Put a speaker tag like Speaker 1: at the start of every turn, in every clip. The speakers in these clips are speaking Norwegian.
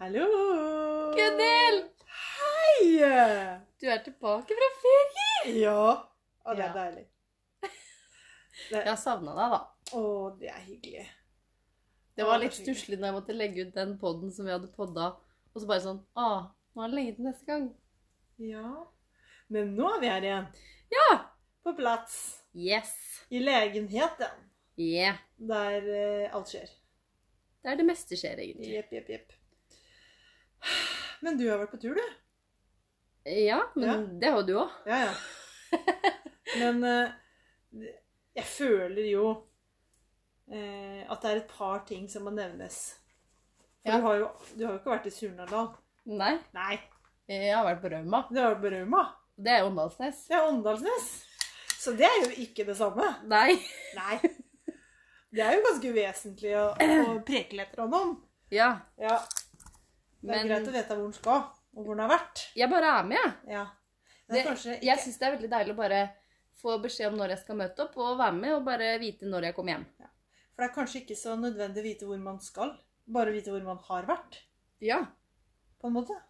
Speaker 1: Hallo!
Speaker 2: Gunhild!
Speaker 1: Hei!
Speaker 2: Du er tilbake fra ferie!
Speaker 1: Ja. Å, det er
Speaker 2: Ja.
Speaker 1: deilig.
Speaker 2: Jeg har savna deg, da.
Speaker 1: Å, det er hyggelig.
Speaker 2: Det
Speaker 1: Ja, det
Speaker 2: var
Speaker 1: er
Speaker 2: litt
Speaker 1: hyggelig.
Speaker 2: stusslig når jeg måtte legge ut den podden som vi hadde podda, og så bare sånn ah, nå er det lenge til neste gang.
Speaker 1: Ja. Men nå er vi her igjen.
Speaker 2: Ja!
Speaker 1: På plass.
Speaker 2: Yes!
Speaker 1: I legenheten.
Speaker 2: Yeah!
Speaker 1: Der eh, alt skjer.
Speaker 2: Det er det meste skjer, egentlig.
Speaker 1: Jepp, jepp, jepp. Men du har vært på tur, du.
Speaker 2: Ja, men
Speaker 1: Ja.
Speaker 2: det har jo du òg.
Speaker 1: Ja, ja. Men eh, jeg føler jo eh, at det er et par ting som må nevnes. For
Speaker 2: Ja.
Speaker 1: du, har jo, du har jo ikke vært i Surnadal.
Speaker 2: Nei,
Speaker 1: Nei,
Speaker 2: jeg har vært på Rauma.
Speaker 1: det var på Rauma.
Speaker 2: Det er Åndalsnes.
Speaker 1: Det er Åndalsnes. Så det er jo ikke det samme.
Speaker 2: Nei.
Speaker 1: Nei. Det er jo ganske uvesentlig å, å preke litt om noen.
Speaker 2: Ja.
Speaker 1: Ja, det er
Speaker 2: Men
Speaker 1: greit å vite hvor den skal, og hvor den har vært.
Speaker 2: jeg bare er med, jeg.
Speaker 1: Ja. Det
Speaker 2: Det-
Speaker 1: er kanskje ikke...
Speaker 2: Jeg syns det er veldig deilig å bare få beskjed om når jeg skal møte opp, og være med, og bare vite når jeg kommer hjem.
Speaker 1: For det er kanskje ikke så nødvendig å vite hvor man skal, bare vite hvor man har vært,
Speaker 2: Ja.
Speaker 1: på en måte.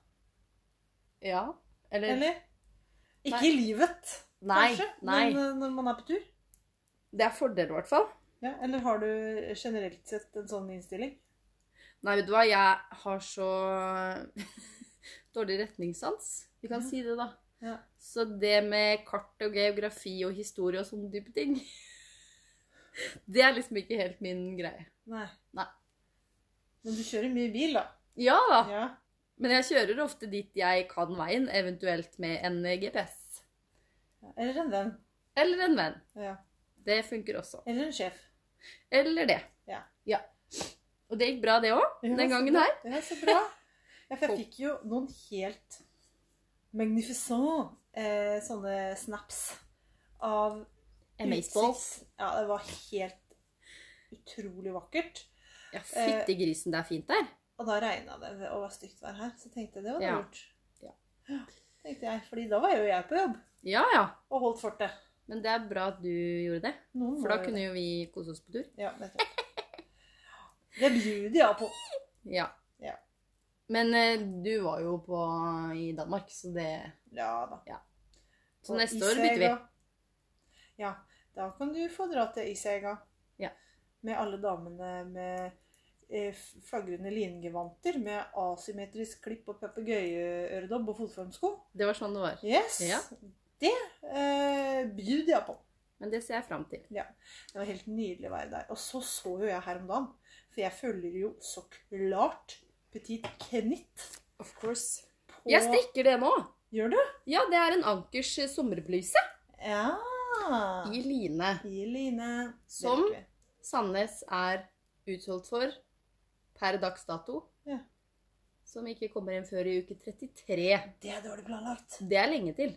Speaker 2: Ja. Eller,
Speaker 1: Eller? Ikke
Speaker 2: Nei.
Speaker 1: i livet,
Speaker 2: Nei.
Speaker 1: kanskje,
Speaker 2: Nei.
Speaker 1: men eh, når man er på tur.
Speaker 2: Det er fordel, i hvert fall.
Speaker 1: Ja, eller har du generelt sett en sånn innstilling?
Speaker 2: Nei, vet du hva, jeg har så dårlig retningssans. Vi kan
Speaker 1: Ja.
Speaker 2: si det, da.
Speaker 1: Ja.
Speaker 2: Så det med kart og geografi og historie og sånne type ting Det er liksom ikke helt min greie.
Speaker 1: Nei.
Speaker 2: Nei.
Speaker 1: Men du kjører mye bil, da.
Speaker 2: Ja da!
Speaker 1: Ja.
Speaker 2: Men jeg kjører ofte dit jeg kan veien, eventuelt med en GPS.
Speaker 1: Eller en venn.
Speaker 2: Eller en venn.
Speaker 1: Ja.
Speaker 2: Det funker også.
Speaker 1: Eller en sjef.
Speaker 2: Eller det.
Speaker 1: Ja.
Speaker 2: Og det gikk bra, det òg.
Speaker 1: Ja,
Speaker 2: Den
Speaker 1: så
Speaker 2: gangen
Speaker 1: bra.
Speaker 2: her.
Speaker 1: Ja, så bra. Ja, for jeg fikk jo noen helt magnificent eh, sånne snaps av
Speaker 2: Amazeballs.
Speaker 1: utsikt. Ja, det var helt utrolig vakkert.
Speaker 2: Ja, fytti grisen, det er fint der.
Speaker 1: Og da regna det og var stygt vær her, så tenkte jeg det var
Speaker 2: Ja.
Speaker 1: lurt.
Speaker 2: Ja.
Speaker 1: Tenkte jeg, fordi da var jo jeg på jobb
Speaker 2: Ja ja.
Speaker 1: og holdt fortet.
Speaker 2: Men det er bra at du gjorde det.
Speaker 1: Noen
Speaker 2: For da
Speaker 1: må jo
Speaker 2: kunne jo vi kose oss på tur.
Speaker 1: det. Ja, nettopp. Det bjuder jeg på.
Speaker 2: Ja.
Speaker 1: Ja.
Speaker 2: Men eh, du var jo på i Danmark, så det
Speaker 1: Ja da.
Speaker 2: Så
Speaker 1: Og
Speaker 2: neste år bytter vi.
Speaker 1: Isega. Ja, da kan du få dra til Isega.
Speaker 2: Ja.
Speaker 1: Med alle damene med eh, flagrende lingevanter med asymmetrisk klipp og papegøyeøredobb og fotformsko.
Speaker 2: Det var sånn det var.
Speaker 1: Yes!
Speaker 2: Ja.
Speaker 1: Det eh, bjuder jeg på.
Speaker 2: Men det ser jeg fram til.
Speaker 1: Det var helt nydelig å være der. Og så så jo jeg her om dagen, for jeg følger jo så klart Petit Kenit
Speaker 2: Of course.
Speaker 1: på
Speaker 2: Jeg strikker det nå.
Speaker 1: Gjør du?
Speaker 2: Ja, det er en ankers eh, sommerbluse
Speaker 1: Ja.
Speaker 2: i line.
Speaker 1: I line. Det
Speaker 2: Som?
Speaker 1: liker vi.
Speaker 2: Sandnes er utsolgt for per dags dato.
Speaker 1: Ja.
Speaker 2: Som ikke kommer inn før i uke 33.
Speaker 1: Det er dårlig planlagt.
Speaker 2: Det er lenge til.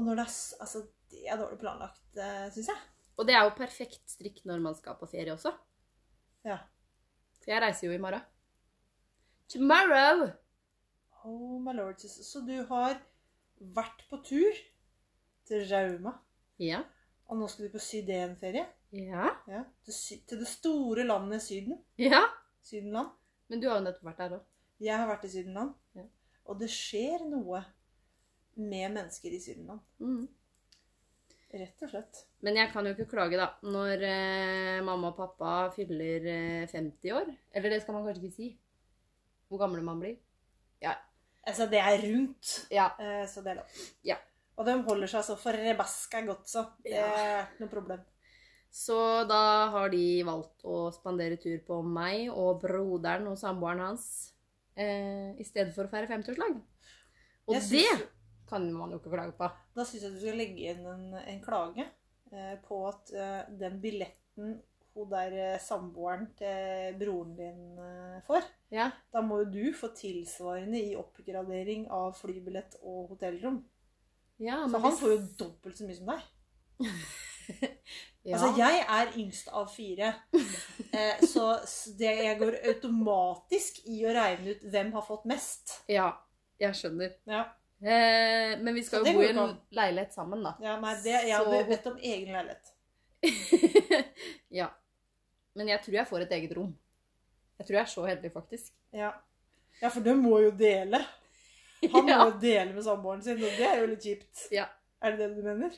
Speaker 1: Og når det er, s- altså, det er dårlig planlagt, syns jeg.
Speaker 2: Og det er jo perfekt strikk når man skal på ferie også.
Speaker 1: Ja.
Speaker 2: For jeg reiser jo i morgen. Tomorrow!
Speaker 1: Oh my lord. Jesus. Så du har vært på tur til Rauma,
Speaker 2: Ja.
Speaker 1: og nå skal du på sydenferie?
Speaker 2: Ja.
Speaker 1: Ja. Til, sy til det store landet Syden.
Speaker 2: Ja.
Speaker 1: Sydenland.
Speaker 2: Men du har jo nettopp vært der òg.
Speaker 1: Jeg har vært i Sydenland.
Speaker 2: Ja.
Speaker 1: Og det skjer noe med mennesker i Sydenland.
Speaker 2: Mm.
Speaker 1: Rett og slett.
Speaker 2: Men jeg kan jo ikke klage, da. Når eh, mamma og pappa fyller eh, 50 år. Eller det skal man kanskje ikke si. Hvor gamle man blir.
Speaker 1: Altså, det er rundt,
Speaker 2: Ja.
Speaker 1: eh, så det er lov.
Speaker 2: Ja.
Speaker 1: Og de holder seg så forbaska godt, så. Det
Speaker 2: Ja.
Speaker 1: er ikke noe problem.
Speaker 2: Så da har de valgt å spandere tur på meg og broderen og samboeren hans eh, i stedet for å feire 50-årslag. Og
Speaker 1: Jeg
Speaker 2: det
Speaker 1: synes-
Speaker 2: kan man jo ikke klage på.
Speaker 1: Da syns jeg du skal legge inn en, en klage eh, på at eh, den billetten hun der eh, samboeren til broren din eh, får,
Speaker 2: Ja.
Speaker 1: da må jo du få tilsvarende i oppgradering av flybillett og hotellrom.
Speaker 2: ja
Speaker 1: Så han får jo dobbelt så mye som deg.
Speaker 2: ja.
Speaker 1: Altså, jeg er yngst av fire, eh, så s- det, jeg går automatisk i å regne ut hvem har fått mest.
Speaker 2: ja, jeg skjønner.
Speaker 1: Ja,
Speaker 2: Eh, men vi
Speaker 1: Så
Speaker 2: skal
Speaker 1: det
Speaker 2: jo bo
Speaker 1: går
Speaker 2: i en
Speaker 1: ikke an.
Speaker 2: leilighet sammen, da.
Speaker 1: ja nei, det, jeg
Speaker 2: Så-
Speaker 1: hadde bedt om egen leilighet.
Speaker 2: ja. Men jeg tror jeg får et eget rom. Jeg tror jeg er så heldig, faktisk.
Speaker 1: Ja. Ja, for de må jo dele. Han må
Speaker 2: Ja.
Speaker 1: jo dele med samboeren sin, og det er jo litt kjipt.
Speaker 2: Ja.
Speaker 1: Er det det du mener?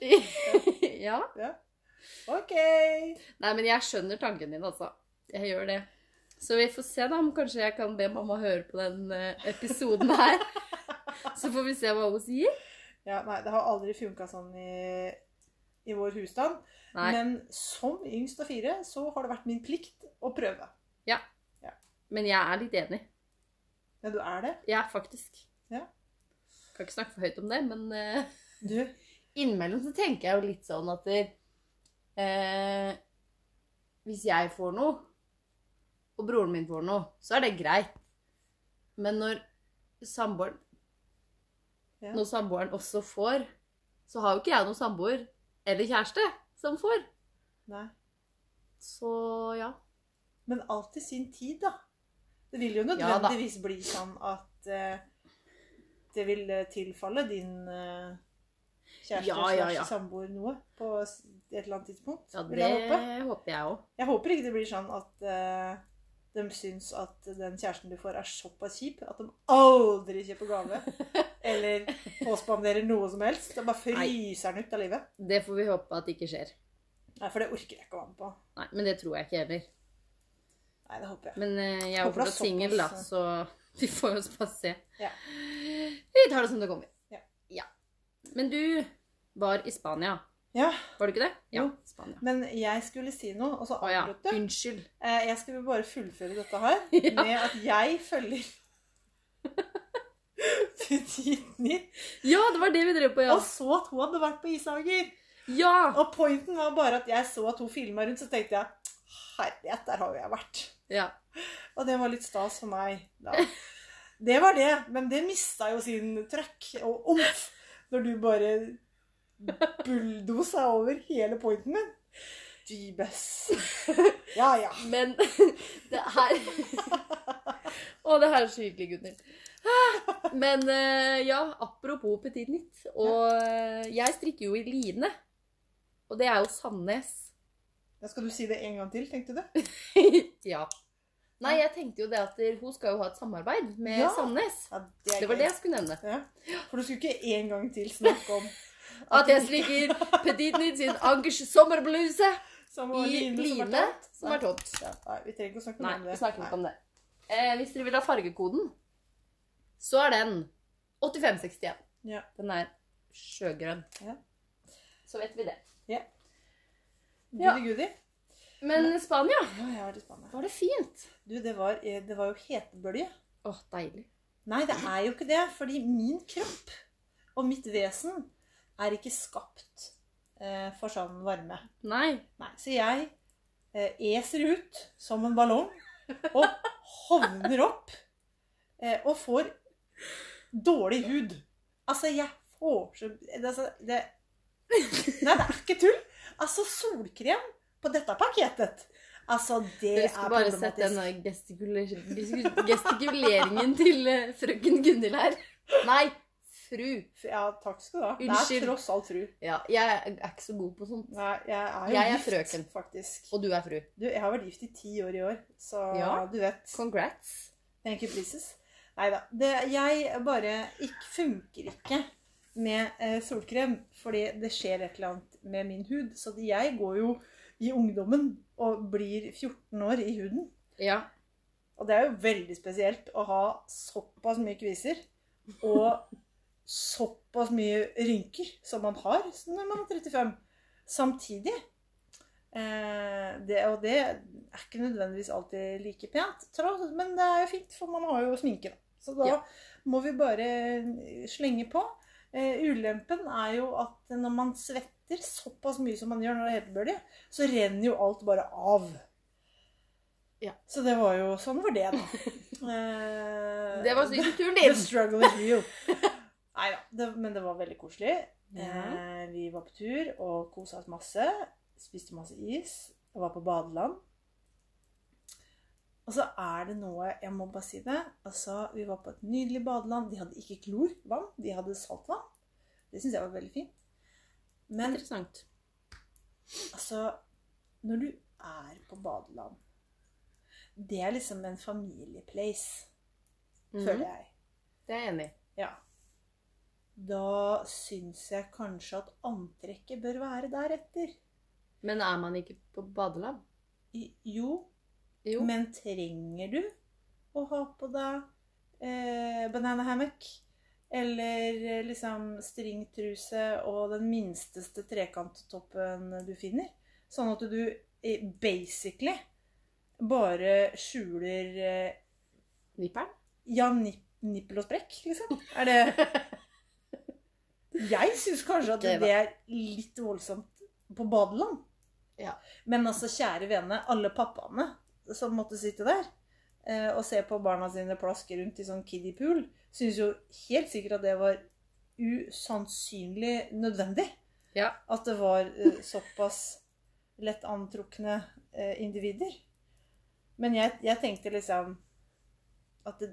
Speaker 2: ja.
Speaker 1: Ok!
Speaker 2: Nei, men jeg skjønner tanken din, altså. Jeg gjør det. Så vi får se da om kanskje jeg kan be mamma høre på den eh, episoden her. Så får vi se hva hun sier.
Speaker 1: Ja, nei, det har aldri funka sånn i, i vår husstand.
Speaker 2: Nei,
Speaker 1: Men som yngst av fire så har det vært min plikt å prøve.
Speaker 2: men jeg er litt enig.
Speaker 1: Ja, du er det?
Speaker 2: Jeg er faktisk.
Speaker 1: Ja.
Speaker 2: Kan ikke snakke for høyt om det, men eh,
Speaker 1: Du,
Speaker 2: innimellom så tenker jeg jo litt sånn at eh, Hvis jeg får noe, og broren min får noe, så er det greit. Men når samboeren
Speaker 1: Ja.
Speaker 2: Når samboeren også får, så har jo ikke jeg noen samboer eller kjæreste som får.
Speaker 1: nei.
Speaker 2: Så ja.
Speaker 1: Men alt i sin tid, da. Det vil jo
Speaker 2: da.
Speaker 1: nødvendigvis bli sånn at eh, det vil eh, tilfalle din eh, kjæreste
Speaker 2: Ja, ja,
Speaker 1: slash
Speaker 2: ja.
Speaker 1: samboer noe på s- et eller annet tidspunkt.
Speaker 2: ja
Speaker 1: vil
Speaker 2: det
Speaker 1: jeg håpe.
Speaker 2: håper jeg òg.
Speaker 1: Jeg håper ikke det blir sånn at eh, de syns at den kjæresten du får, er såpass kjip at de aldri kjøper gave. eller påspanderer noe som helst. Da bare fryser den ut av livet.
Speaker 2: Det får vi håpe at ikke skjer.
Speaker 1: Nei, For det orker jeg ikke å være med på.
Speaker 2: Nei, Men det tror jeg ikke heller.
Speaker 1: Nei, det håper jeg.
Speaker 2: Men eh, jeg er jo
Speaker 1: Håper det er
Speaker 2: fortsatt singel, da,
Speaker 1: såpass,
Speaker 2: så vi får jo bare se.
Speaker 1: Ja.
Speaker 2: Vi tar det som det kommer.
Speaker 1: Ja.
Speaker 2: Men du var i Spania,
Speaker 1: Ja,
Speaker 2: var du ikke det? Ja,
Speaker 1: Jo.
Speaker 2: Spania.
Speaker 1: Men jeg skulle si noe, og så
Speaker 2: Å ja,
Speaker 1: avbrøt du.
Speaker 2: unnskyld.
Speaker 1: Eh, Jeg skulle bare fullføre dette her
Speaker 2: Ja.
Speaker 1: med at jeg følger Petiten din.
Speaker 2: Ja, det var det vi drev på, ja.
Speaker 1: Og så at hun hadde vært på Ishager.
Speaker 2: Ja!
Speaker 1: Og pointen var bare at jeg så at hun filma rundt, så tenkte jeg Herlighet, der har jo jeg vært.
Speaker 2: ja.
Speaker 1: Og det var litt stas for meg da. Det var det, men det mista jo sin trøkk og omf når du bare bulldosa over hele pointen min. Jeebus. Ja, ja.
Speaker 2: Men det her Å, det her er så hyggelig, Gunnhild. Men eh, ja, apropos Petit Nytt. Og eh, jeg strikker jo i line. Og det er jo Sandnes.
Speaker 1: Da skal du si det en gang til, tenkte du?
Speaker 2: ja. Nei, jeg tenkte jo det at hun skal jo ha et samarbeid med
Speaker 1: Ja.
Speaker 2: Sandnes.
Speaker 1: Ja, er
Speaker 2: Det var
Speaker 1: gøy.
Speaker 2: det jeg skulle nevne.
Speaker 1: Ja. For du skulle ikke en gang til snakke om
Speaker 2: At jeg slikker Petit Nytt sin Ankers sommerbluse
Speaker 1: som var
Speaker 2: i line som er tomt.
Speaker 1: Ja, nei, vi trenger ikke å snakke
Speaker 2: Nei,
Speaker 1: mer om det.
Speaker 2: vi snakker ikke om det. Eh, hvis dere vil ha fargekoden, så er den 8561.
Speaker 1: Ja.
Speaker 2: Den er sjøgrønn.
Speaker 1: Ja.
Speaker 2: Så vet vi det.
Speaker 1: Gudi
Speaker 2: Ja.
Speaker 1: gudi.
Speaker 2: Men Spania,
Speaker 1: Ja, jeg var i Spania.
Speaker 2: var det fint?
Speaker 1: Du, det var, eh, det var jo hetebølge.
Speaker 2: Åh, deilig.
Speaker 1: Nei, det er jo ikke det. Fordi min kropp og mitt vesen er ikke skapt eh, for sånn varme.
Speaker 2: Nei.
Speaker 1: Nei, så jeg eh, eser ut som en ballong og hovner opp eh, og får dårlig hud. Altså, jeg får så det, altså, det, Nei, det er ikke tull. Altså, solkrem på dette pakketet Altså, det
Speaker 2: Dere
Speaker 1: er
Speaker 2: skulle bare sett den
Speaker 1: problematisk.
Speaker 2: gestikuler gestikuleringen til eh, frøken Gunhild her. Nei, fru.
Speaker 1: Ja, takk skal du ha. Det
Speaker 2: Unnskyld.
Speaker 1: er tross alt fru.
Speaker 2: Ja, jeg er ikke så god på sånt.
Speaker 1: Nei, jeg er jo
Speaker 2: Jeg er
Speaker 1: gift,
Speaker 2: frøken.
Speaker 1: faktisk.
Speaker 2: Og du er fru.
Speaker 1: Du, jeg har vært gift i ti år i år, så
Speaker 2: Ja.
Speaker 1: du vet.
Speaker 2: Congrats.
Speaker 1: Thank you, pleases. Nei da. Jeg bare ikk, funker ikke med eh, solkrem, fordi det skjer et eller annet med min hud. Så at jeg går jo i ungdommen og blir 14 år i huden.
Speaker 2: Ja.
Speaker 1: Og det er jo veldig spesielt å ha såpass mye kviser og såpass mye rynker som man har når man er 35, samtidig. Eh, det, og det er ikke nødvendigvis alltid like pent, tross, men det er jo fint, for man har jo sminke. da. Så da
Speaker 2: Ja.
Speaker 1: må vi bare slenge på. Eh, ulempen er jo at når man svetter såpass mye som man gjør når det er hetebølge, så renner jo alt bare av.
Speaker 2: Ja.
Speaker 1: Så det var jo Sånn var det, da. Eh,
Speaker 2: Det var sykkelturen
Speaker 1: The
Speaker 2: din.
Speaker 1: struggle is real. Nei da. det- Men det var veldig koselig.
Speaker 2: Ja.
Speaker 1: Eh, vi var på tur og kosa oss masse. Spiste masse is. og Var på badeland. Og så er det noe Jeg må bare si det. Altså, vi var på et nydelig badeland. De hadde ikke klorvann, de hadde saltvann. Det syns jeg var veldig fint. Men
Speaker 2: Interessant.
Speaker 1: Altså, når du er på badeland Det er liksom en familieplace. føler jeg.
Speaker 2: Mhm, Det er jeg enig i.
Speaker 1: Ja. Da syns jeg kanskje at antrekket bør være deretter.
Speaker 2: Men er man ikke på badeland?
Speaker 1: I- Jo,
Speaker 2: Jo.
Speaker 1: men trenger du å ha på deg eh, banana hammock? Eller eh, liksom stringtruse og den minsteste trekanttoppen du finner? Sånn at du eh, basically bare skjuler eh,
Speaker 2: Nipperen?
Speaker 1: Ja, nip, nippel og sprekk, liksom. Er det Jeg syns kanskje at det,
Speaker 2: Det var-
Speaker 1: er litt voldsomt på badeland.
Speaker 2: Ja.
Speaker 1: Men altså, kjære vene, alle pappaene som måtte sitte der eh, og se på barna sine plaske rundt i sånn kiddie pool, syns jo helt sikkert at det var usannsynlig nødvendig.
Speaker 2: Ja.
Speaker 1: At det var eh, såpass lett antrukne eh, individer. Men jeg, jeg tenkte liksom at det,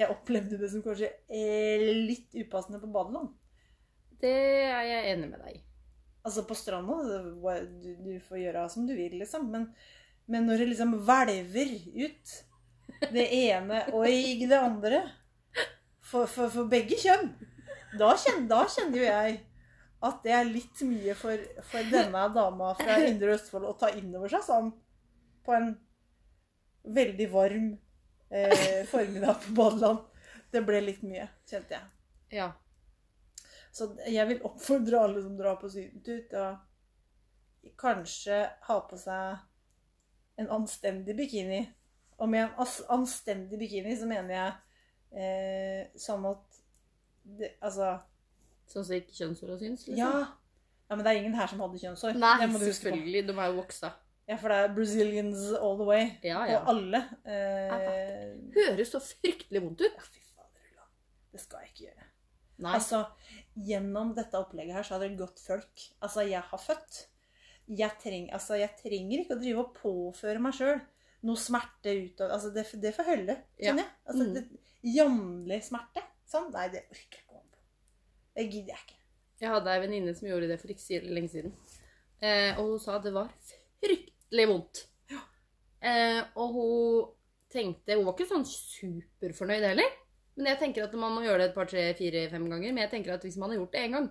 Speaker 1: jeg opplevde det som kanskje eh, litt upassende på badeland.
Speaker 2: Det er jeg enig med deg i.
Speaker 1: Altså på stranda, det var- du, du får gjøre som du vil, liksom. Men, men når det liksom hvelver ut det ene og i det andre for, for, for begge kjønn, da kjenner, da kjenner jo jeg at det er litt mye for, for denne dama fra Indre Østfold å ta inn over seg sånn på en veldig varm eh, formiddag på badeland. Det ble litt mye, kjente jeg.
Speaker 2: Ja.
Speaker 1: Så jeg vil oppfordre alle som drar på sydentur til å kanskje ha på seg en anstendig bikini. Og med en as- anstendig bikini så mener jeg eh, sånn at det, Altså
Speaker 2: Sånn som ikke kjønnshåra syns? liksom.
Speaker 1: ja. ja. Men det er ingen her som hadde kjønnshår.
Speaker 2: Nei,
Speaker 1: det må du huske på.
Speaker 2: selvfølgelig. De er jo voksa.
Speaker 1: Ja, for det er Brazilians all the way.
Speaker 2: Ja,
Speaker 1: Og
Speaker 2: ja.
Speaker 1: alle. Eh,
Speaker 2: Høres så fryktelig vondt ut.
Speaker 1: ja, fy fader, Ulla. Det skal jeg ikke gjøre.
Speaker 2: Nei.
Speaker 1: Altså, gjennom dette opplegget her så har dere godt folk. Altså, jeg har født. Jeg, treng, altså, jeg trenger ikke å drive og påføre meg sjøl noe smerte utover Altså, det, det får holde,
Speaker 2: Ja.
Speaker 1: kjenner jeg. Altså,
Speaker 2: Mm.
Speaker 1: det, jevnlig smerte. Sånn. Nei, det orker jeg ikke å være med på. Det gidder jeg ikke.
Speaker 2: Jeg hadde ei venninne som gjorde det for ikke så lenge siden. Eh, og hun sa det var fryktelig vondt. Eh, og hun tenkte Hun var ikke sånn superfornøyd heller. Men jeg tenker at man må gjøre det et par, tre, fire, fem ganger. Men jeg tenker at hvis man har gjort det én gang,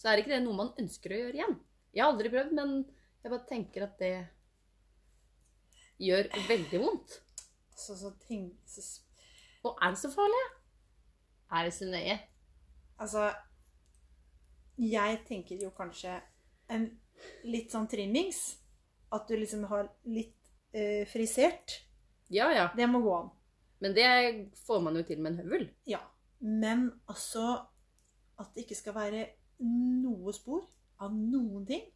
Speaker 2: så er ikke det noe man ønsker å gjøre igjen. Jeg har aldri prøvd, men jeg bare tenker at det gjør veldig vondt.
Speaker 1: Så, så ting, så, s-
Speaker 2: Og er det så farlig? Er det så nøye?
Speaker 1: altså Jeg tenker jo kanskje en litt sånn trimmings. At du liksom har litt eh, frisert.
Speaker 2: Ja ja.
Speaker 1: Det må gå an.
Speaker 2: Men det får man jo til med en høvel.
Speaker 1: Ja. Men altså At det ikke skal være noe spor av noen ting.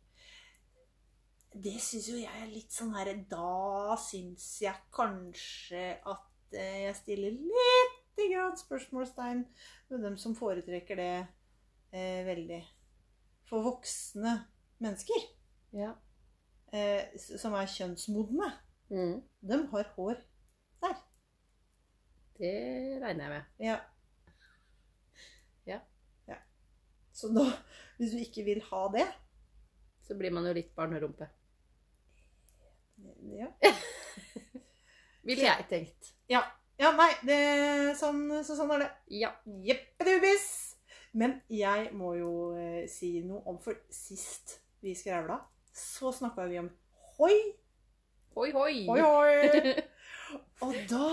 Speaker 1: Det syns jo jeg er litt sånn her Da syns jeg kanskje at eh, jeg stiller lite grann spørsmålstegn med dem som foretrekker det eh, veldig. For voksne mennesker
Speaker 2: Ja.
Speaker 1: eh, s- som er kjønnsmodne,
Speaker 2: Mm.
Speaker 1: de har hår der.
Speaker 2: Det regner jeg med.
Speaker 1: Ja.
Speaker 2: Ja.
Speaker 1: ja. Så da, hvis du ikke vil ha det
Speaker 2: Så blir man jo litt barnerumpe.
Speaker 1: Ja,
Speaker 2: Ville jeg tenkt.
Speaker 1: ja nei, det, sånn, så sånn er det.
Speaker 2: Ja.
Speaker 1: Jeppedubis! Men jeg må jo eh, si noe om For sist vi skravla, så snakka vi om hoi,
Speaker 2: Hoi, hoi.
Speaker 1: hoi, hoi. Og da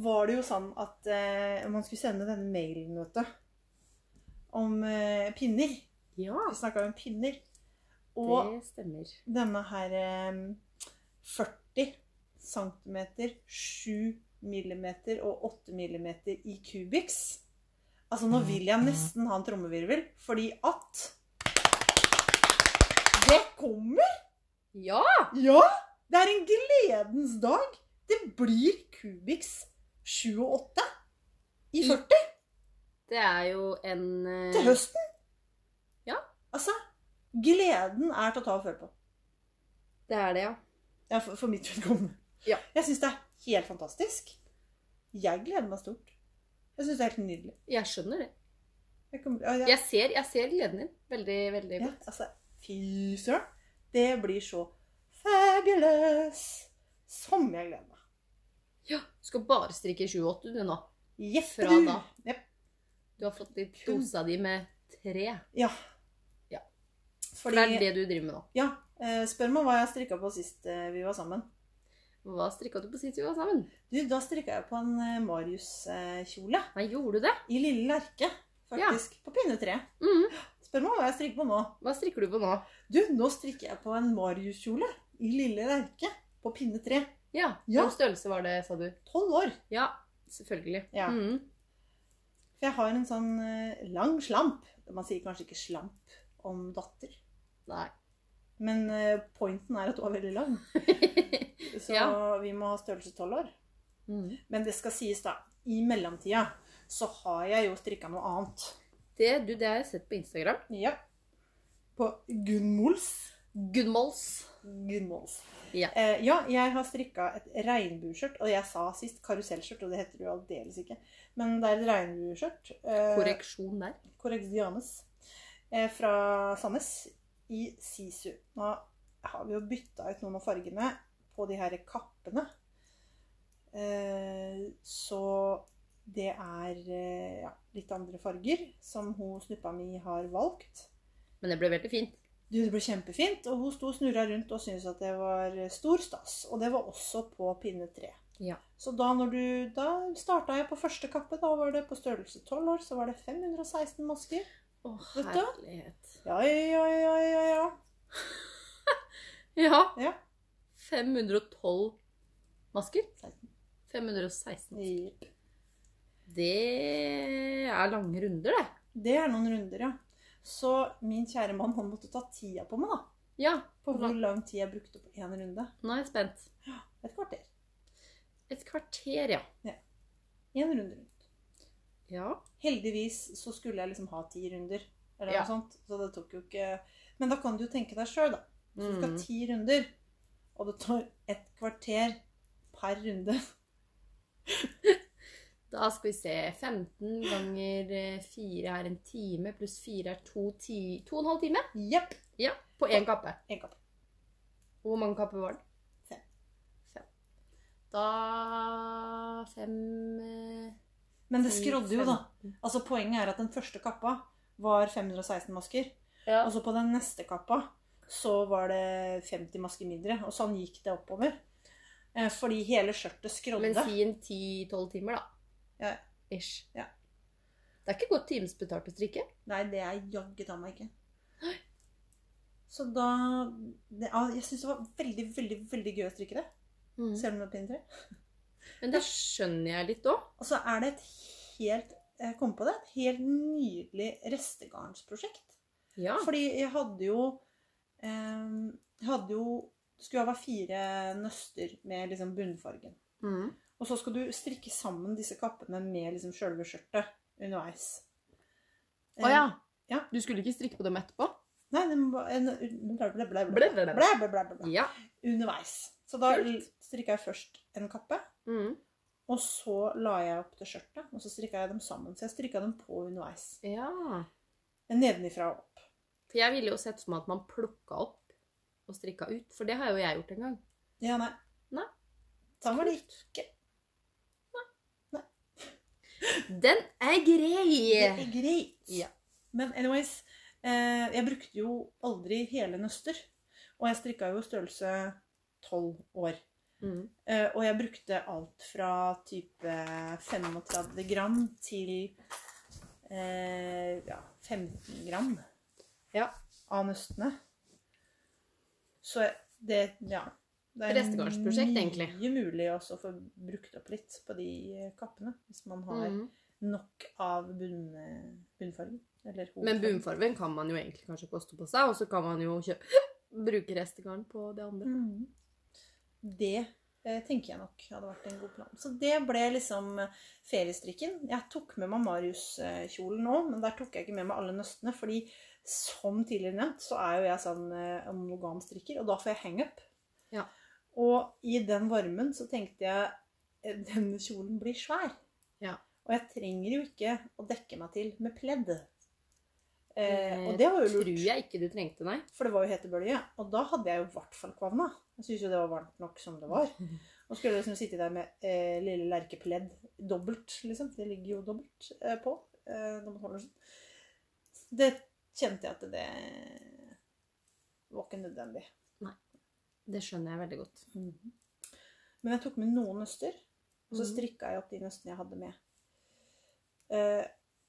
Speaker 1: var det jo sånn at eh, man skulle sende denne mailen, vet du, om eh, pinner.
Speaker 2: ja,
Speaker 1: Vi snakka om pinner. Og
Speaker 2: det stemmer.
Speaker 1: denne her eh, em, 40 cm, 7 mm og 8 mm i kubiks. Altså, nå vil jeg nesten ha en trommevirvel, fordi at Det kommer!
Speaker 2: Ja!
Speaker 1: Ja! Det er en gledens dag. Det blir kubiks 7 og 8 i 40
Speaker 2: Det er jo en eh,
Speaker 1: til høsten.
Speaker 2: Ja.
Speaker 1: Altså, gleden er til å ta og føle på.
Speaker 2: Det er det, ja.
Speaker 1: Ja, for, for mitt vedkommende.
Speaker 2: Ja.
Speaker 1: Jeg syns det er helt fantastisk. Jeg gleder meg stort. Jeg syns det er helt nydelig.
Speaker 2: Jeg skjønner det.
Speaker 1: Jeg kommer, ja, jeg,
Speaker 2: Jeg ser, jeg ser gleden din. Veldig, veldig
Speaker 1: ja,
Speaker 2: godt.
Speaker 1: altså, fy søren. Det blir så fabulous som jeg gleder meg.
Speaker 2: Ja, du skal bare strikke 28 du nå.
Speaker 1: Jeppe
Speaker 2: Fra
Speaker 1: du.
Speaker 2: da.
Speaker 1: Jepp.
Speaker 2: Du har fått litt dosa di med tre.
Speaker 1: Ja.
Speaker 2: Ja. For det er
Speaker 1: Fordi
Speaker 2: det du driver med nå.
Speaker 1: Ja. eh, Spør meg hva jeg strikka på sist eh, vi var sammen.
Speaker 2: Hva strikka du på sist vi var sammen?
Speaker 1: Du, da strikka jeg på en eh, Marius-kjole.
Speaker 2: Nei, gjorde du det?
Speaker 1: I lille lerke, faktisk. På pinnetre.
Speaker 2: Mm.
Speaker 1: Spør meg hva jeg strikker på nå.
Speaker 2: Hva strikker du på nå?
Speaker 1: Du, nå strikker jeg på en Marius-kjole. I lille lerke. På pinnetre.
Speaker 2: Ja,
Speaker 1: Ja.
Speaker 2: Hvilken størrelse var det, sa du?
Speaker 1: Tolv år.
Speaker 2: Ja, selvfølgelig.
Speaker 1: Ja.
Speaker 2: Mm.
Speaker 1: For jeg har en sånn eh, lang slamp. Man sier kanskje ikke slamp om datter.
Speaker 2: Nei.
Speaker 1: Men eh, pointen er at du er veldig lang. Så
Speaker 2: Ja.
Speaker 1: vi må ha størrelse tolv år.
Speaker 2: Mm.
Speaker 1: Men det skal sies, da. I mellomtida så har jeg jo strikka noe annet.
Speaker 2: Det, du, det har jeg sett på Instagram.
Speaker 1: Ja. På Gunmols.
Speaker 2: Gunmols.
Speaker 1: Gunmols.
Speaker 2: Ja.
Speaker 1: Eh, ja, jeg har strikka et regnbueskjørt. Og jeg sa sist karusellskjørt, og det heter det jo aldeles ikke. Men det er et regnbueskjørt. Eh,
Speaker 2: Korreksjon der.
Speaker 1: Corregianes. Eh, fra Sandnes. I Sisu. Nå har vi jo bytta ut noen av fargene på de her kappene. Eh, så det er eh, ja, litt andre farger som hun snuppa mi har valgt.
Speaker 2: Men det ble veldig fint.
Speaker 1: Du, det ble kjempefint, og hun sto og snurra rundt og syntes at det var eh, stor stas. Og det var også på pinne tre.
Speaker 2: Ja.
Speaker 1: Så da, når du, da starta jeg på første kappe. Da var det på størrelse 12 år, så var det 516 masker.
Speaker 2: Å,
Speaker 1: Vet du?
Speaker 2: herlighet.
Speaker 1: Ja, ja, ja, ja, ja.
Speaker 2: Ja.
Speaker 1: Ja.
Speaker 2: 512 masker.
Speaker 1: Seksten.
Speaker 2: 516.
Speaker 1: Jepp.
Speaker 2: Det er lange runder, det.
Speaker 1: Det er noen runder, ja. Så min kjære mann han måtte ta tida på meg, da.
Speaker 2: Ja,
Speaker 1: På
Speaker 2: Hvor
Speaker 1: hvor
Speaker 2: lang-
Speaker 1: lang tid jeg brukte på én runde.
Speaker 2: nå er jeg spent.
Speaker 1: Et kvarter.
Speaker 2: Et kvarter, ja.
Speaker 1: Én runde rundt.
Speaker 2: Ja.
Speaker 1: Heldigvis så skulle jeg liksom ha ti runder, eller
Speaker 2: Ja.
Speaker 1: noe sånt. Så det tok jo ikke Men da kan du jo tenke deg sjøl, da. Så du skal
Speaker 2: Mm.
Speaker 1: ha ti runder, og det tar et kvarter per runde.
Speaker 2: Da skal vi se. 15 ganger 4 er en time, pluss 4 er 2 ti... To og en halv time
Speaker 1: Jepp.
Speaker 2: på én kappe.
Speaker 1: En kapp.
Speaker 2: Og hvor mange kapper var den?
Speaker 1: Fem.
Speaker 2: Fem. Da Fem eh,
Speaker 1: Men det
Speaker 2: Ti,
Speaker 1: skrådde jo, da.
Speaker 2: femten.
Speaker 1: Altså Poenget er at den første kappa var 516 masker.
Speaker 2: Ja.
Speaker 1: Og så på den neste kappa så var det 50 masker mindre. Og sånn gikk det oppover. Eh, Fordi hele skjørtet skrådde.
Speaker 2: Men si en 10-12 timer, da.
Speaker 1: Ja.
Speaker 2: Ish.
Speaker 1: Ja.
Speaker 2: Det er ikke godt timesbetalt å strikke.
Speaker 1: Nei, det er jaggu ta meg ikke. Så da det, ja, Jeg syns det var veldig, veldig veldig gøy å strikke det. Selv om det er pinnetre.
Speaker 2: Men det skjønner jeg litt òg.
Speaker 1: Og så er det et helt Jeg kom på det. Et helt nydelig restegarnsprosjekt.
Speaker 2: Ja.
Speaker 1: Fordi jeg hadde jo eh, Jeg hadde jo Det skulle jo være fire nøster med liksom bunnfargen.
Speaker 2: Mm.
Speaker 1: Og så skal du strikke sammen disse kappene med liksom sjølve skjørtet underveis.
Speaker 2: Å ja.
Speaker 1: eh, ja.
Speaker 2: Du skulle ikke strikke på dem etterpå?
Speaker 1: Nei, det må en, bla, bla, bla, bla,
Speaker 2: Ble det det?
Speaker 1: bla, bla, bla, bla.
Speaker 2: Ja.
Speaker 1: Underveis. Så da
Speaker 2: Kult.
Speaker 1: strikka jeg først en kappe,
Speaker 2: Mm.
Speaker 1: og så la jeg opp det skjørtet. Og så strikka jeg dem sammen. Så jeg strikka dem på underveis.
Speaker 2: ja.
Speaker 1: Nedenifra og opp.
Speaker 2: For jeg ville jo sett for meg at man plukka opp og strikka ut. For det har jo jeg gjort en gang.
Speaker 1: Ja, nei.
Speaker 2: Nei.
Speaker 1: Sånn var det ikke.
Speaker 2: Den er
Speaker 1: Det
Speaker 2: grei! Mm.
Speaker 1: er greit.
Speaker 2: Ja.
Speaker 1: Men anyways, eh, jeg brukte jo aldri hele nøster. Og jeg strikka jo størrelse 12 år.
Speaker 2: Mm.
Speaker 1: Eh, og jeg brukte alt fra type 35 gram til eh, ja, 15 gram
Speaker 2: Ja.
Speaker 1: av nøstene. Så det Ja. Det
Speaker 2: Restegardsprosjekt, egentlig.
Speaker 1: mye mulig også å få brukt opp litt på de eh, kappene. Hvis man har
Speaker 2: Mm.
Speaker 1: nok av bunn, eh, bunnfargen. Eller
Speaker 2: Men
Speaker 1: hovedfargen.
Speaker 2: bunfarven kan man jo egentlig kanskje koste på seg, og så kan man jo kjøpe, bruke restegarn på det andre.
Speaker 1: Mhm. Det eh, tenker jeg nok hadde vært en god plan. Så det ble liksom eh, feriestrikken. Jeg tok med meg Marius-kjolen nå, men der tok jeg ikke med meg alle nøstene. fordi som tidligere nevnt, så er jo jeg sånn eh, en monogam strikker, og da får jeg hangup.
Speaker 2: Ja.
Speaker 1: Og i den varmen så tenkte jeg eh, denne kjolen blir svær.
Speaker 2: Ja.
Speaker 1: Og jeg trenger jo ikke å dekke meg til med pledd. Eh,
Speaker 2: Eh,
Speaker 1: og det var jo lurt.
Speaker 2: Tror jeg ikke du trengte, nei.
Speaker 1: For det var jo hetebølge. Og da hadde jeg jo i hvert fall kvalma. Jeg syntes jo det var varmt nok som det var. Nå skulle jeg liksom sitte der med eh, lille lerkepledd dobbelt, liksom. Det ligger jo dobbelt eh, på. Eh, når man holder sånn. Det kjente jeg at det var ikke nødvendig.
Speaker 2: Det skjønner jeg veldig godt.
Speaker 1: Men jeg tok med noen nøster, og så
Speaker 2: Mhm.
Speaker 1: strikka jeg opp de nøstene jeg hadde med. Eh,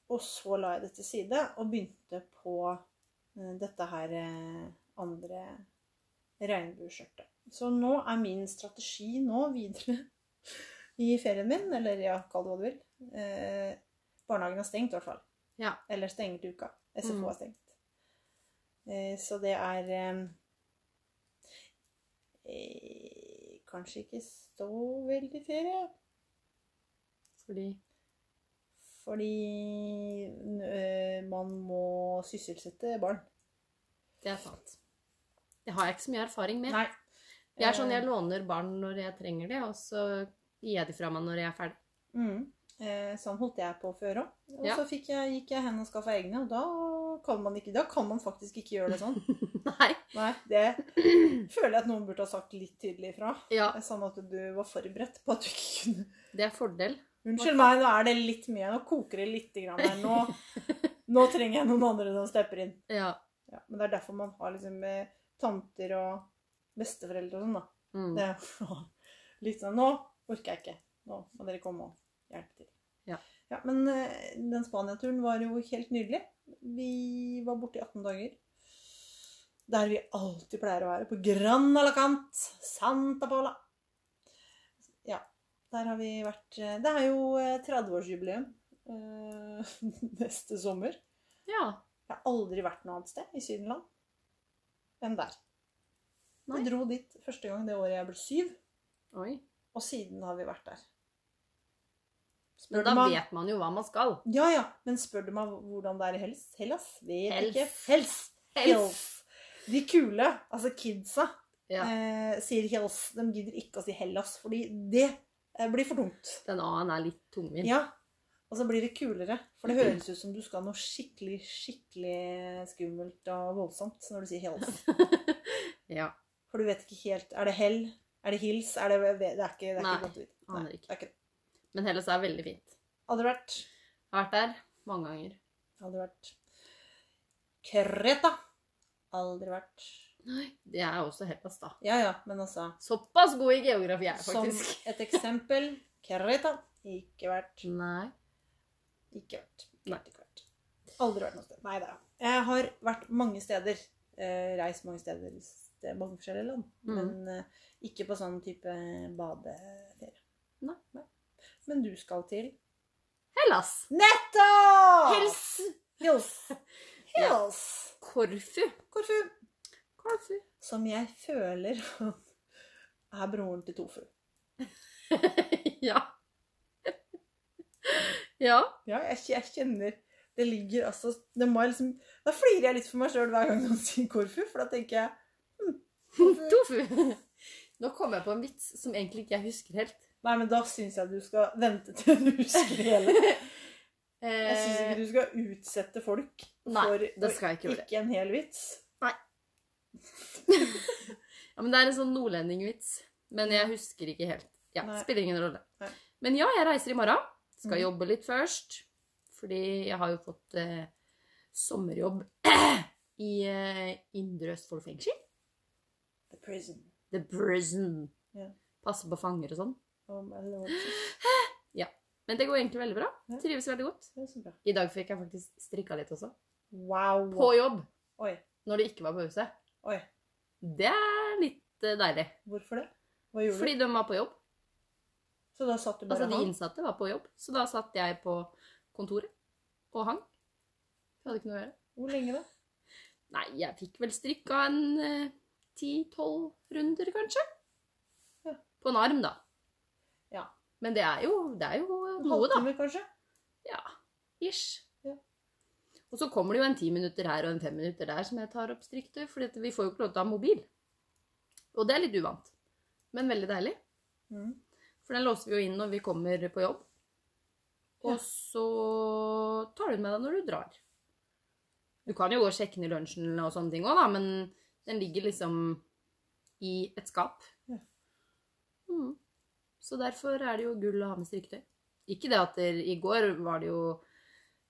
Speaker 1: og så la jeg det til side og begynte på eh, dette her eh, andre regnbueskjørtet. Så nå er min strategi nå videre i ferien min, eller ja, kall det hva du vil. Eh, barnehagen er stengt i hvert fall.
Speaker 2: Ja.
Speaker 1: Eller stenger til uka. SFO
Speaker 2: Mm.
Speaker 1: er stengt. Eh, så det er eh, eh, Kanskje ikke så veldig ferie.
Speaker 2: Fordi
Speaker 1: Fordi eh, man må sysselsette barn.
Speaker 2: det er sant. Det har jeg ikke så mye erfaring med.
Speaker 1: Nei.
Speaker 2: Jeg er sånn,
Speaker 1: Eh,
Speaker 2: jeg låner barn når jeg trenger det, og så gir jeg de fra meg når jeg er ferdig.
Speaker 1: Mm. Eh, sånn holdt jeg på før òg. Og
Speaker 2: Ja.
Speaker 1: så fikk jeg, gikk jeg hen og skaffa egne, og da kan, man ikke, da kan man faktisk ikke gjøre det sånn.
Speaker 2: Nei.
Speaker 1: Nei, Det føler jeg at noen burde ha sagt litt tydelig ifra.
Speaker 2: Ja,
Speaker 1: Sånn at du var forberedt på at du ikke kunne
Speaker 2: det er fordel.
Speaker 1: Unnskyld meg, nå er det litt mye. Nå koker det litt grann her. Nå, nå trenger jeg noen andre som stepper inn.
Speaker 2: Ja.
Speaker 1: Ja, men det er derfor man har liksom eh, tanter og besteforeldre og sånn, da.
Speaker 2: Mm.
Speaker 1: Det er litt sånn Nå orker jeg ikke. Nå må dere komme og hjelpe til.
Speaker 2: Ja.
Speaker 1: men eh, den Spania-turen var jo helt nydelig. Vi var borte i 18 dager. Der vi alltid pleier å være. På Gran Alacant. Santa Pola. Ja. Der har vi vært eh, Det er jo eh, 30-årsjubileum eh, neste sommer.
Speaker 2: Ja.
Speaker 1: Jeg har aldri vært noe annet sted i Sydenland enn der.
Speaker 2: Nei.
Speaker 1: Jeg dro dit første gang det året jeg ble syv,
Speaker 2: Oi.
Speaker 1: og siden har vi vært der. Spør
Speaker 2: Men
Speaker 1: du
Speaker 2: da
Speaker 1: meg-
Speaker 2: vet man jo hva man skal.
Speaker 1: Ja, ja, men spør du meg hvordan det er i Hellas? Hellas? Vet
Speaker 2: Hells.
Speaker 1: ikke. Hells. Hells. De kule, altså kidsa,
Speaker 2: Ja.
Speaker 1: eh, sier Hells. De gidder ikke å si Hellas, fordi det eh, blir for dumt.
Speaker 2: Den A-en er litt tungvint.
Speaker 1: Ja. Og så blir det kulere. For
Speaker 2: Mm.
Speaker 1: det høres ut som du skal noe skikkelig, skikkelig skummelt og voldsomt når du sier Hells.
Speaker 2: Ja.
Speaker 1: For du vet ikke helt Er det hell? Er det hils? Er det, det er ikke, det er
Speaker 2: Nei,
Speaker 1: ikke godt å vite. Nei,
Speaker 2: aner ikke.
Speaker 1: det er ikke det.
Speaker 2: Men Hellas er veldig fint.
Speaker 1: Hadde det vært
Speaker 2: Jeg har vært der mange ganger.
Speaker 1: Hadde det vært Kreta. Aldri vært
Speaker 2: Nei. Det er også Hellas, da.
Speaker 1: Ja ja, men altså
Speaker 2: Såpass god i geografi er jeg
Speaker 1: Som
Speaker 2: faktisk.
Speaker 1: et eksempel Kreta. Ikke vært.
Speaker 2: Nei.
Speaker 1: Ikke vært.
Speaker 2: Nei.
Speaker 1: Ikke vært. Aldri vært noe sted. Nei da. Jeg har vært mange steder. Eh, reist mange steder. Det er mange forskjellige land.
Speaker 2: Mhm.
Speaker 1: Men eh, ikke på sånn type badeferie.
Speaker 2: Nei.
Speaker 1: Men du skal til
Speaker 2: Hellas.
Speaker 1: Netto! Ah.
Speaker 2: Hels.
Speaker 1: Hills.
Speaker 2: Ja.
Speaker 1: Hills.
Speaker 2: Korfu.
Speaker 1: Korfu.
Speaker 2: Korfu.
Speaker 1: Som jeg føler er broren til Tofu.
Speaker 2: ja. ja.
Speaker 1: Ja, jeg, jeg kjenner Det ligger altså det må jeg liksom, Da flirer jeg litt for meg sjøl hver gang noen sier Korfu, for da tenker jeg hm, Korfu.
Speaker 2: Tofu. Altså, Nå kom jeg på en vits som egentlig ikke jeg husker helt.
Speaker 1: Nei, men da syns jeg du skal vente til du husker det hele. Jeg syns ikke
Speaker 2: Eh,
Speaker 1: du skal utsette folk
Speaker 2: Nei,
Speaker 1: for
Speaker 2: det skal jeg ikke gjøre.
Speaker 1: en hel vits.
Speaker 2: ja, men det er en sånn nordlendingvits. Men jeg husker ikke helt. Ja,
Speaker 1: Nei.
Speaker 2: Spiller ingen rolle.
Speaker 1: Nei.
Speaker 2: Men ja, jeg reiser i morgen. Skal
Speaker 1: Mhm.
Speaker 2: jobbe litt først. Fordi jeg har jo fått eh, sommerjobb i eh, Indre Østfold fengsel.
Speaker 1: The prison.
Speaker 2: The prison.
Speaker 1: Ja.
Speaker 2: Passe på fanger og sånn.
Speaker 1: Oh, my lord.
Speaker 2: Men det går egentlig veldig bra.
Speaker 1: Ja.
Speaker 2: Trives veldig godt.
Speaker 1: Det er så bra.
Speaker 2: I dag fikk jeg faktisk strikka litt også.
Speaker 1: Wow.
Speaker 2: På jobb.
Speaker 1: Oi.
Speaker 2: Når det ikke var pause.
Speaker 1: Oi.
Speaker 2: Det er litt eh, deilig.
Speaker 1: Hvorfor det? Hva gjorde
Speaker 2: Fordi de var på jobb.
Speaker 1: du? Så da satt du bare
Speaker 2: Altså
Speaker 1: og
Speaker 2: de
Speaker 1: hang?
Speaker 2: innsatte var på jobb. Så da satt jeg på kontoret og hang. Jeg hadde ikke noe å gjøre.
Speaker 1: Hvor lenge da?
Speaker 2: Nei, jeg fikk vel strikka en eh, 10-12 runder, kanskje.
Speaker 1: Ja.
Speaker 2: På en arm, da.
Speaker 1: Ja.
Speaker 2: Men det er jo, det er jo
Speaker 1: En
Speaker 2: noe, da.
Speaker 1: halvtime, kanskje?
Speaker 2: Ja. Ish.
Speaker 1: Ja.
Speaker 2: Og så kommer det jo en ti minutter her og en fem minutter der som jeg tar opp striktøy, for dette- vi får jo ikke lov til å ha mobil. Og det er litt uvant, men veldig deilig.
Speaker 1: Mm.
Speaker 2: For den låser vi jo inn når vi kommer på jobb. Og
Speaker 1: Ja.
Speaker 2: så tar du den med deg når du drar. Du kan jo gå og sjekke den i lunsjen og sånne ting òg, da, men den ligger liksom i et skap.
Speaker 1: Ja.
Speaker 2: Mm. Så derfor er det jo gull å ha med strikketøy. Ikke det at der, i går var det jo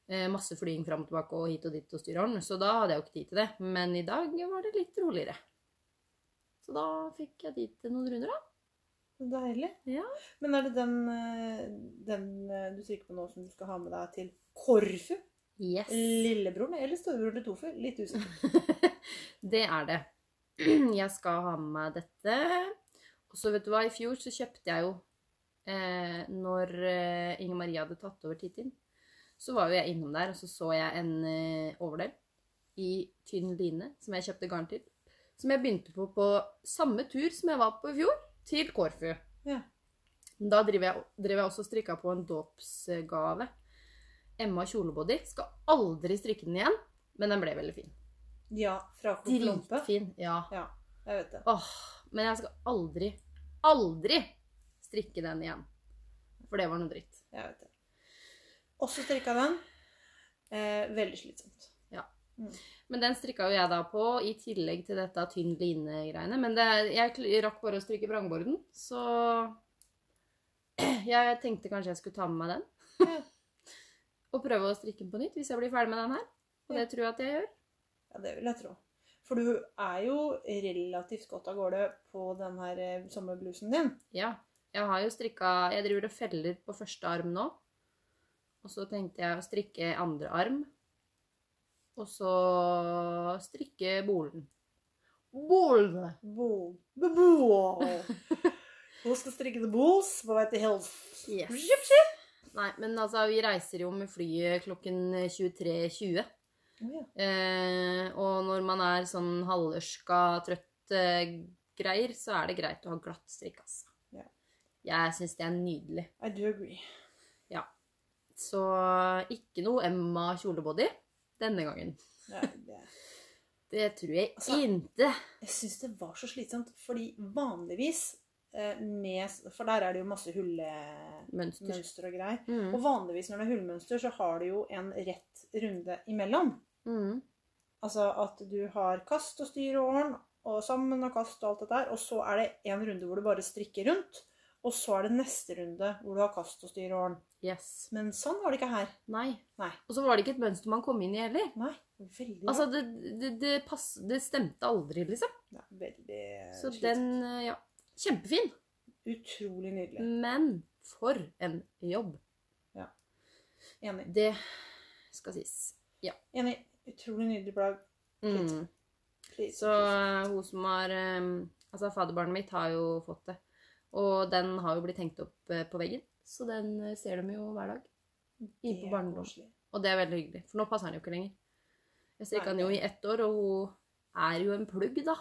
Speaker 2: eh, masse flying fram og tilbake og hit og dit og styråren, så da hadde jeg jo ikke tid til det. Men i dag var det litt roligere. Så da fikk jeg tid til noen runder, da.
Speaker 1: Så Deilig.
Speaker 2: Ja.
Speaker 1: Men er det den, eh, den eh, du trykker på nå, som du skal ha med deg til Korfu?
Speaker 2: Yes.
Speaker 1: Lillebroren eller storebroren til Tofu? Litt usikker.
Speaker 2: Det er det. Jeg skal ha med meg dette. Og så vet du hva, i fjor så kjøpte jeg jo eh, Når eh, Inger Marie hadde tatt over Titin, så var jo jeg innom der, og så så jeg en eh, overdel i tynn line som jeg kjøpte garn til. Som jeg begynte på på samme tur som jeg var på i fjor, til Korfu.
Speaker 1: Ja.
Speaker 2: Men Da driver jeg, driver jeg også og strikka på en dåpsgave. Emma kjolebody. Skal aldri strikke den igjen, men den ble veldig fin.
Speaker 1: Ja, fra Kokolompe.
Speaker 2: Dritfin. Ja.
Speaker 1: Ja, jeg vet det.
Speaker 2: Åh, men jeg skal aldri, aldri strikke den igjen. For det var noe dritt.
Speaker 1: Jeg vet det. Også strikka den. Eh, veldig slitsomt.
Speaker 2: Men den strikka jo jeg da på, i tillegg til dette tynn line-greiene. Men det, jeg kl- rakk bare å stryke vrangborden, så jeg tenkte kanskje jeg skulle ta med meg den.
Speaker 1: Ja.
Speaker 2: Og prøve å strikke den på nytt hvis jeg blir ferdig med den her. Og det tror jeg at jeg gjør.
Speaker 1: Ja, det vil jeg tro. For du er jo relativt godt av gårde på den her eh, sommerblusen din.
Speaker 2: Ja. Jeg har jo strikka Jeg driver og feller på første arm nå. Og så tenkte jeg å strikke andre arm. Og så strikke bolen. Bolen!
Speaker 1: Bo- bo- bo- Hun skal strikke the balls på vei til health.
Speaker 2: Yes.
Speaker 1: Skip,
Speaker 2: Nei, men altså, vi reiser jo med flyet klokken 23.20.
Speaker 1: skip. Ja.
Speaker 2: Eh, og når man er sånn halvørska, trøtt eh, greier, så er det greit å ha glatt strikk, altså.
Speaker 1: Ja.
Speaker 2: Jeg syns det er nydelig.
Speaker 1: I do agree.
Speaker 2: Så ikke noe Emma kjolebody denne gangen.
Speaker 1: Ja, det.
Speaker 2: Det tror jeg
Speaker 1: Altså-
Speaker 2: ikke.
Speaker 1: Jeg syns det var så slitsomt, fordi vanligvis eh, med For der er det jo masse hullemønster
Speaker 2: Mønster.
Speaker 1: og greier.
Speaker 2: Mm.
Speaker 1: Og vanligvis når det er hullmønster, så har du jo en rett runde imellom.
Speaker 2: Mm.
Speaker 1: Altså at du har kast og styr og åren, og sammen og kast og alt dette her. Og så er det en runde hvor du bare strikker rundt. Og så er det neste runde hvor du har kast og styr og åren.
Speaker 2: Yes.
Speaker 1: Men sånn var det ikke her.
Speaker 2: Nei.
Speaker 1: Nei.
Speaker 2: Og så var det ikke et mønster man kom inn i heller.
Speaker 1: Nei, veldig
Speaker 2: Altså, det, det, det, pass, det stemte aldri, liksom.
Speaker 1: Nei, veldig
Speaker 2: Så
Speaker 1: slitsomt.
Speaker 2: den eh, Ja. Kjempefin.
Speaker 1: Utrolig nydelig.
Speaker 2: Men for en jobb.
Speaker 1: Enig.
Speaker 2: Det skal sies.
Speaker 1: Enig. Utrolig nydelig plagg.
Speaker 2: Mm.
Speaker 1: Please.
Speaker 2: Så eh, hun som har eh, Altså, fadderbarnet mitt har jo fått det. Og den har jo blitt hengt opp eh, på veggen. Så den eh, ser de jo hver dag. I
Speaker 1: Det
Speaker 2: på
Speaker 1: er
Speaker 2: barnedom.
Speaker 1: koselig.
Speaker 2: Og det er veldig hyggelig, for nå passer han jo ikke lenger. Jeg
Speaker 1: Nei,
Speaker 2: strikka han jo i ett år, og hun er jo en plugg, da.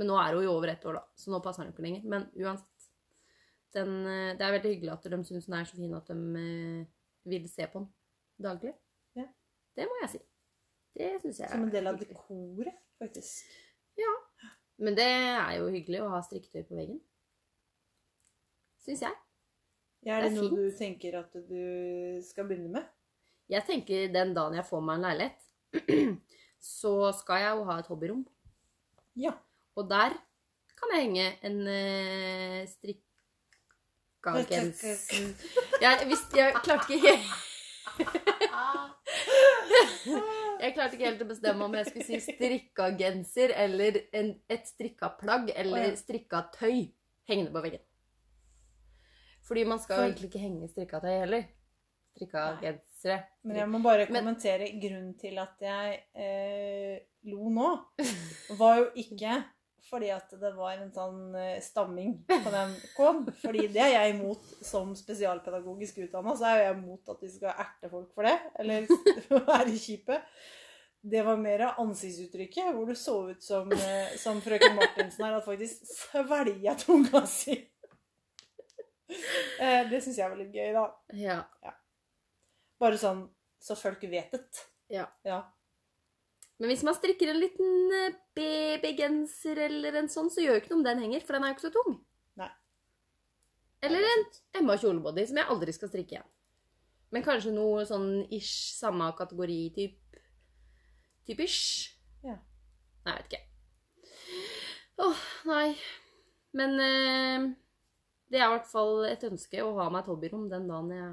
Speaker 2: Men nå er hun jo over ett år, da, så nå passer han jo ikke lenger. Men uansett. Den, eh, det er veldig hyggelig at de syns den er så fin at de eh, vil se på den daglig.
Speaker 1: Ja.
Speaker 2: Det må jeg si. Det syns jeg
Speaker 1: Som en del av
Speaker 2: hyggelig.
Speaker 1: dekoret, faktisk.
Speaker 2: Men det er jo hyggelig å ha strikketøy på veggen. Syns jeg.
Speaker 1: Ja, er det,
Speaker 2: Det er
Speaker 1: noe
Speaker 2: fint.
Speaker 1: du tenker at du skal begynne med?
Speaker 2: Jeg tenker den dagen jeg får meg en leilighet, så skal jeg jo ha et hobbyrom.
Speaker 1: Ja.
Speaker 2: Og der kan jeg henge en uh, strikka genser. Jeg, visste- jeg klarte ikke helt
Speaker 1: Ah.
Speaker 2: Jeg klarte ikke helt å bestemme om jeg skulle si strikka genser eller en, et strikka plagg
Speaker 1: Å,
Speaker 2: eller
Speaker 1: ja.
Speaker 2: strikka tøy hengende på veggen. Fordi man skal
Speaker 1: For-
Speaker 2: jo egentlig ikke henge strikka tøy heller. Strikka
Speaker 1: Nei.
Speaker 2: gensere.
Speaker 1: Men jeg må bare
Speaker 2: Men-
Speaker 1: kommentere grunnen til at jeg eh, lo nå, var jo ikke fordi at det var en sånn eh, stamming på den K-en. Fordi det er jeg imot som spesialpedagogisk utdanna, så er jo jeg imot at vi skal erte folk for det. Eller være kjipe. Det var mer av ansiktsuttrykket, hvor du så ut som, eh, som frøken Martinsen her, at faktisk svelga tunga si. Eh, det syns jeg var litt gøy, da.
Speaker 2: Ja.
Speaker 1: Bare sånn så folk vet det.
Speaker 2: Ja.
Speaker 1: ja.
Speaker 2: Men hvis man strikker en liten eh, babygenser eller en sånn, så gjør jo ikke noe om den henger, for den er jo ikke så tung.
Speaker 1: Nei.
Speaker 2: Eller en Emma kjolebody, som jeg aldri skal strikke igjen. Men kanskje noe sånn ish, samme kategori, typ Typish.
Speaker 1: Ja.
Speaker 2: Nei, jeg vet ikke. Åh, nei. Men eh, Det er i hvert fall et ønske å ha meg et hobbyrom den dagen jeg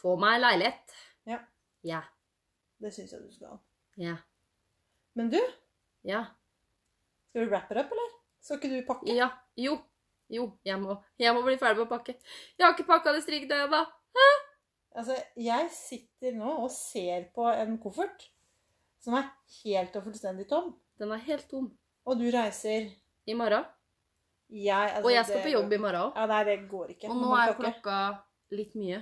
Speaker 2: får meg leilighet.
Speaker 1: Ja.
Speaker 2: Ja.
Speaker 1: Det syns jeg du skal.
Speaker 2: Ja.
Speaker 1: Men du,
Speaker 2: Ja.
Speaker 1: skal du wrap it up, eller? Skal ikke du pakke?
Speaker 2: ja. Jo. Jo, jeg må, jeg må bli ferdig med å pakke. Jeg har ikke pakka det strikketøyet ennå.
Speaker 1: Altså, jeg sitter nå og ser på en koffert som er helt og fullstendig tom.
Speaker 2: Den er helt tom.
Speaker 1: Og du reiser
Speaker 2: I morgen.
Speaker 1: jeg, altså,
Speaker 2: Og jeg skal
Speaker 1: det-
Speaker 2: på jobb i morgen òg.
Speaker 1: Ja, nei, det går ikke.
Speaker 2: Og
Speaker 1: Man
Speaker 2: nå
Speaker 1: må
Speaker 2: er jo
Speaker 1: pakke.
Speaker 2: klokka litt mye.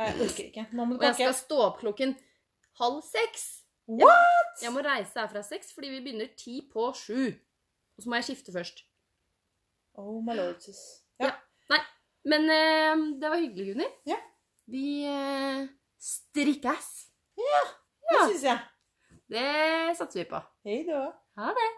Speaker 1: Jeg orker ikke. Nå må du
Speaker 2: Og jeg
Speaker 1: pakke.
Speaker 2: skal stå opp klokken halv seks.
Speaker 1: What?!
Speaker 2: Jeg må reise herfra seks, fordi vi begynner ti på sju. Og så må jeg skifte først.
Speaker 1: Oh my lord, sis. Ja.
Speaker 2: Ja. Men eh, det var hyggelig, Gunnhild.
Speaker 1: Ja.
Speaker 2: Vi eh, strikkes.
Speaker 1: Det syns jeg.
Speaker 2: Det satser vi på.
Speaker 1: Hei da.
Speaker 2: Ha det.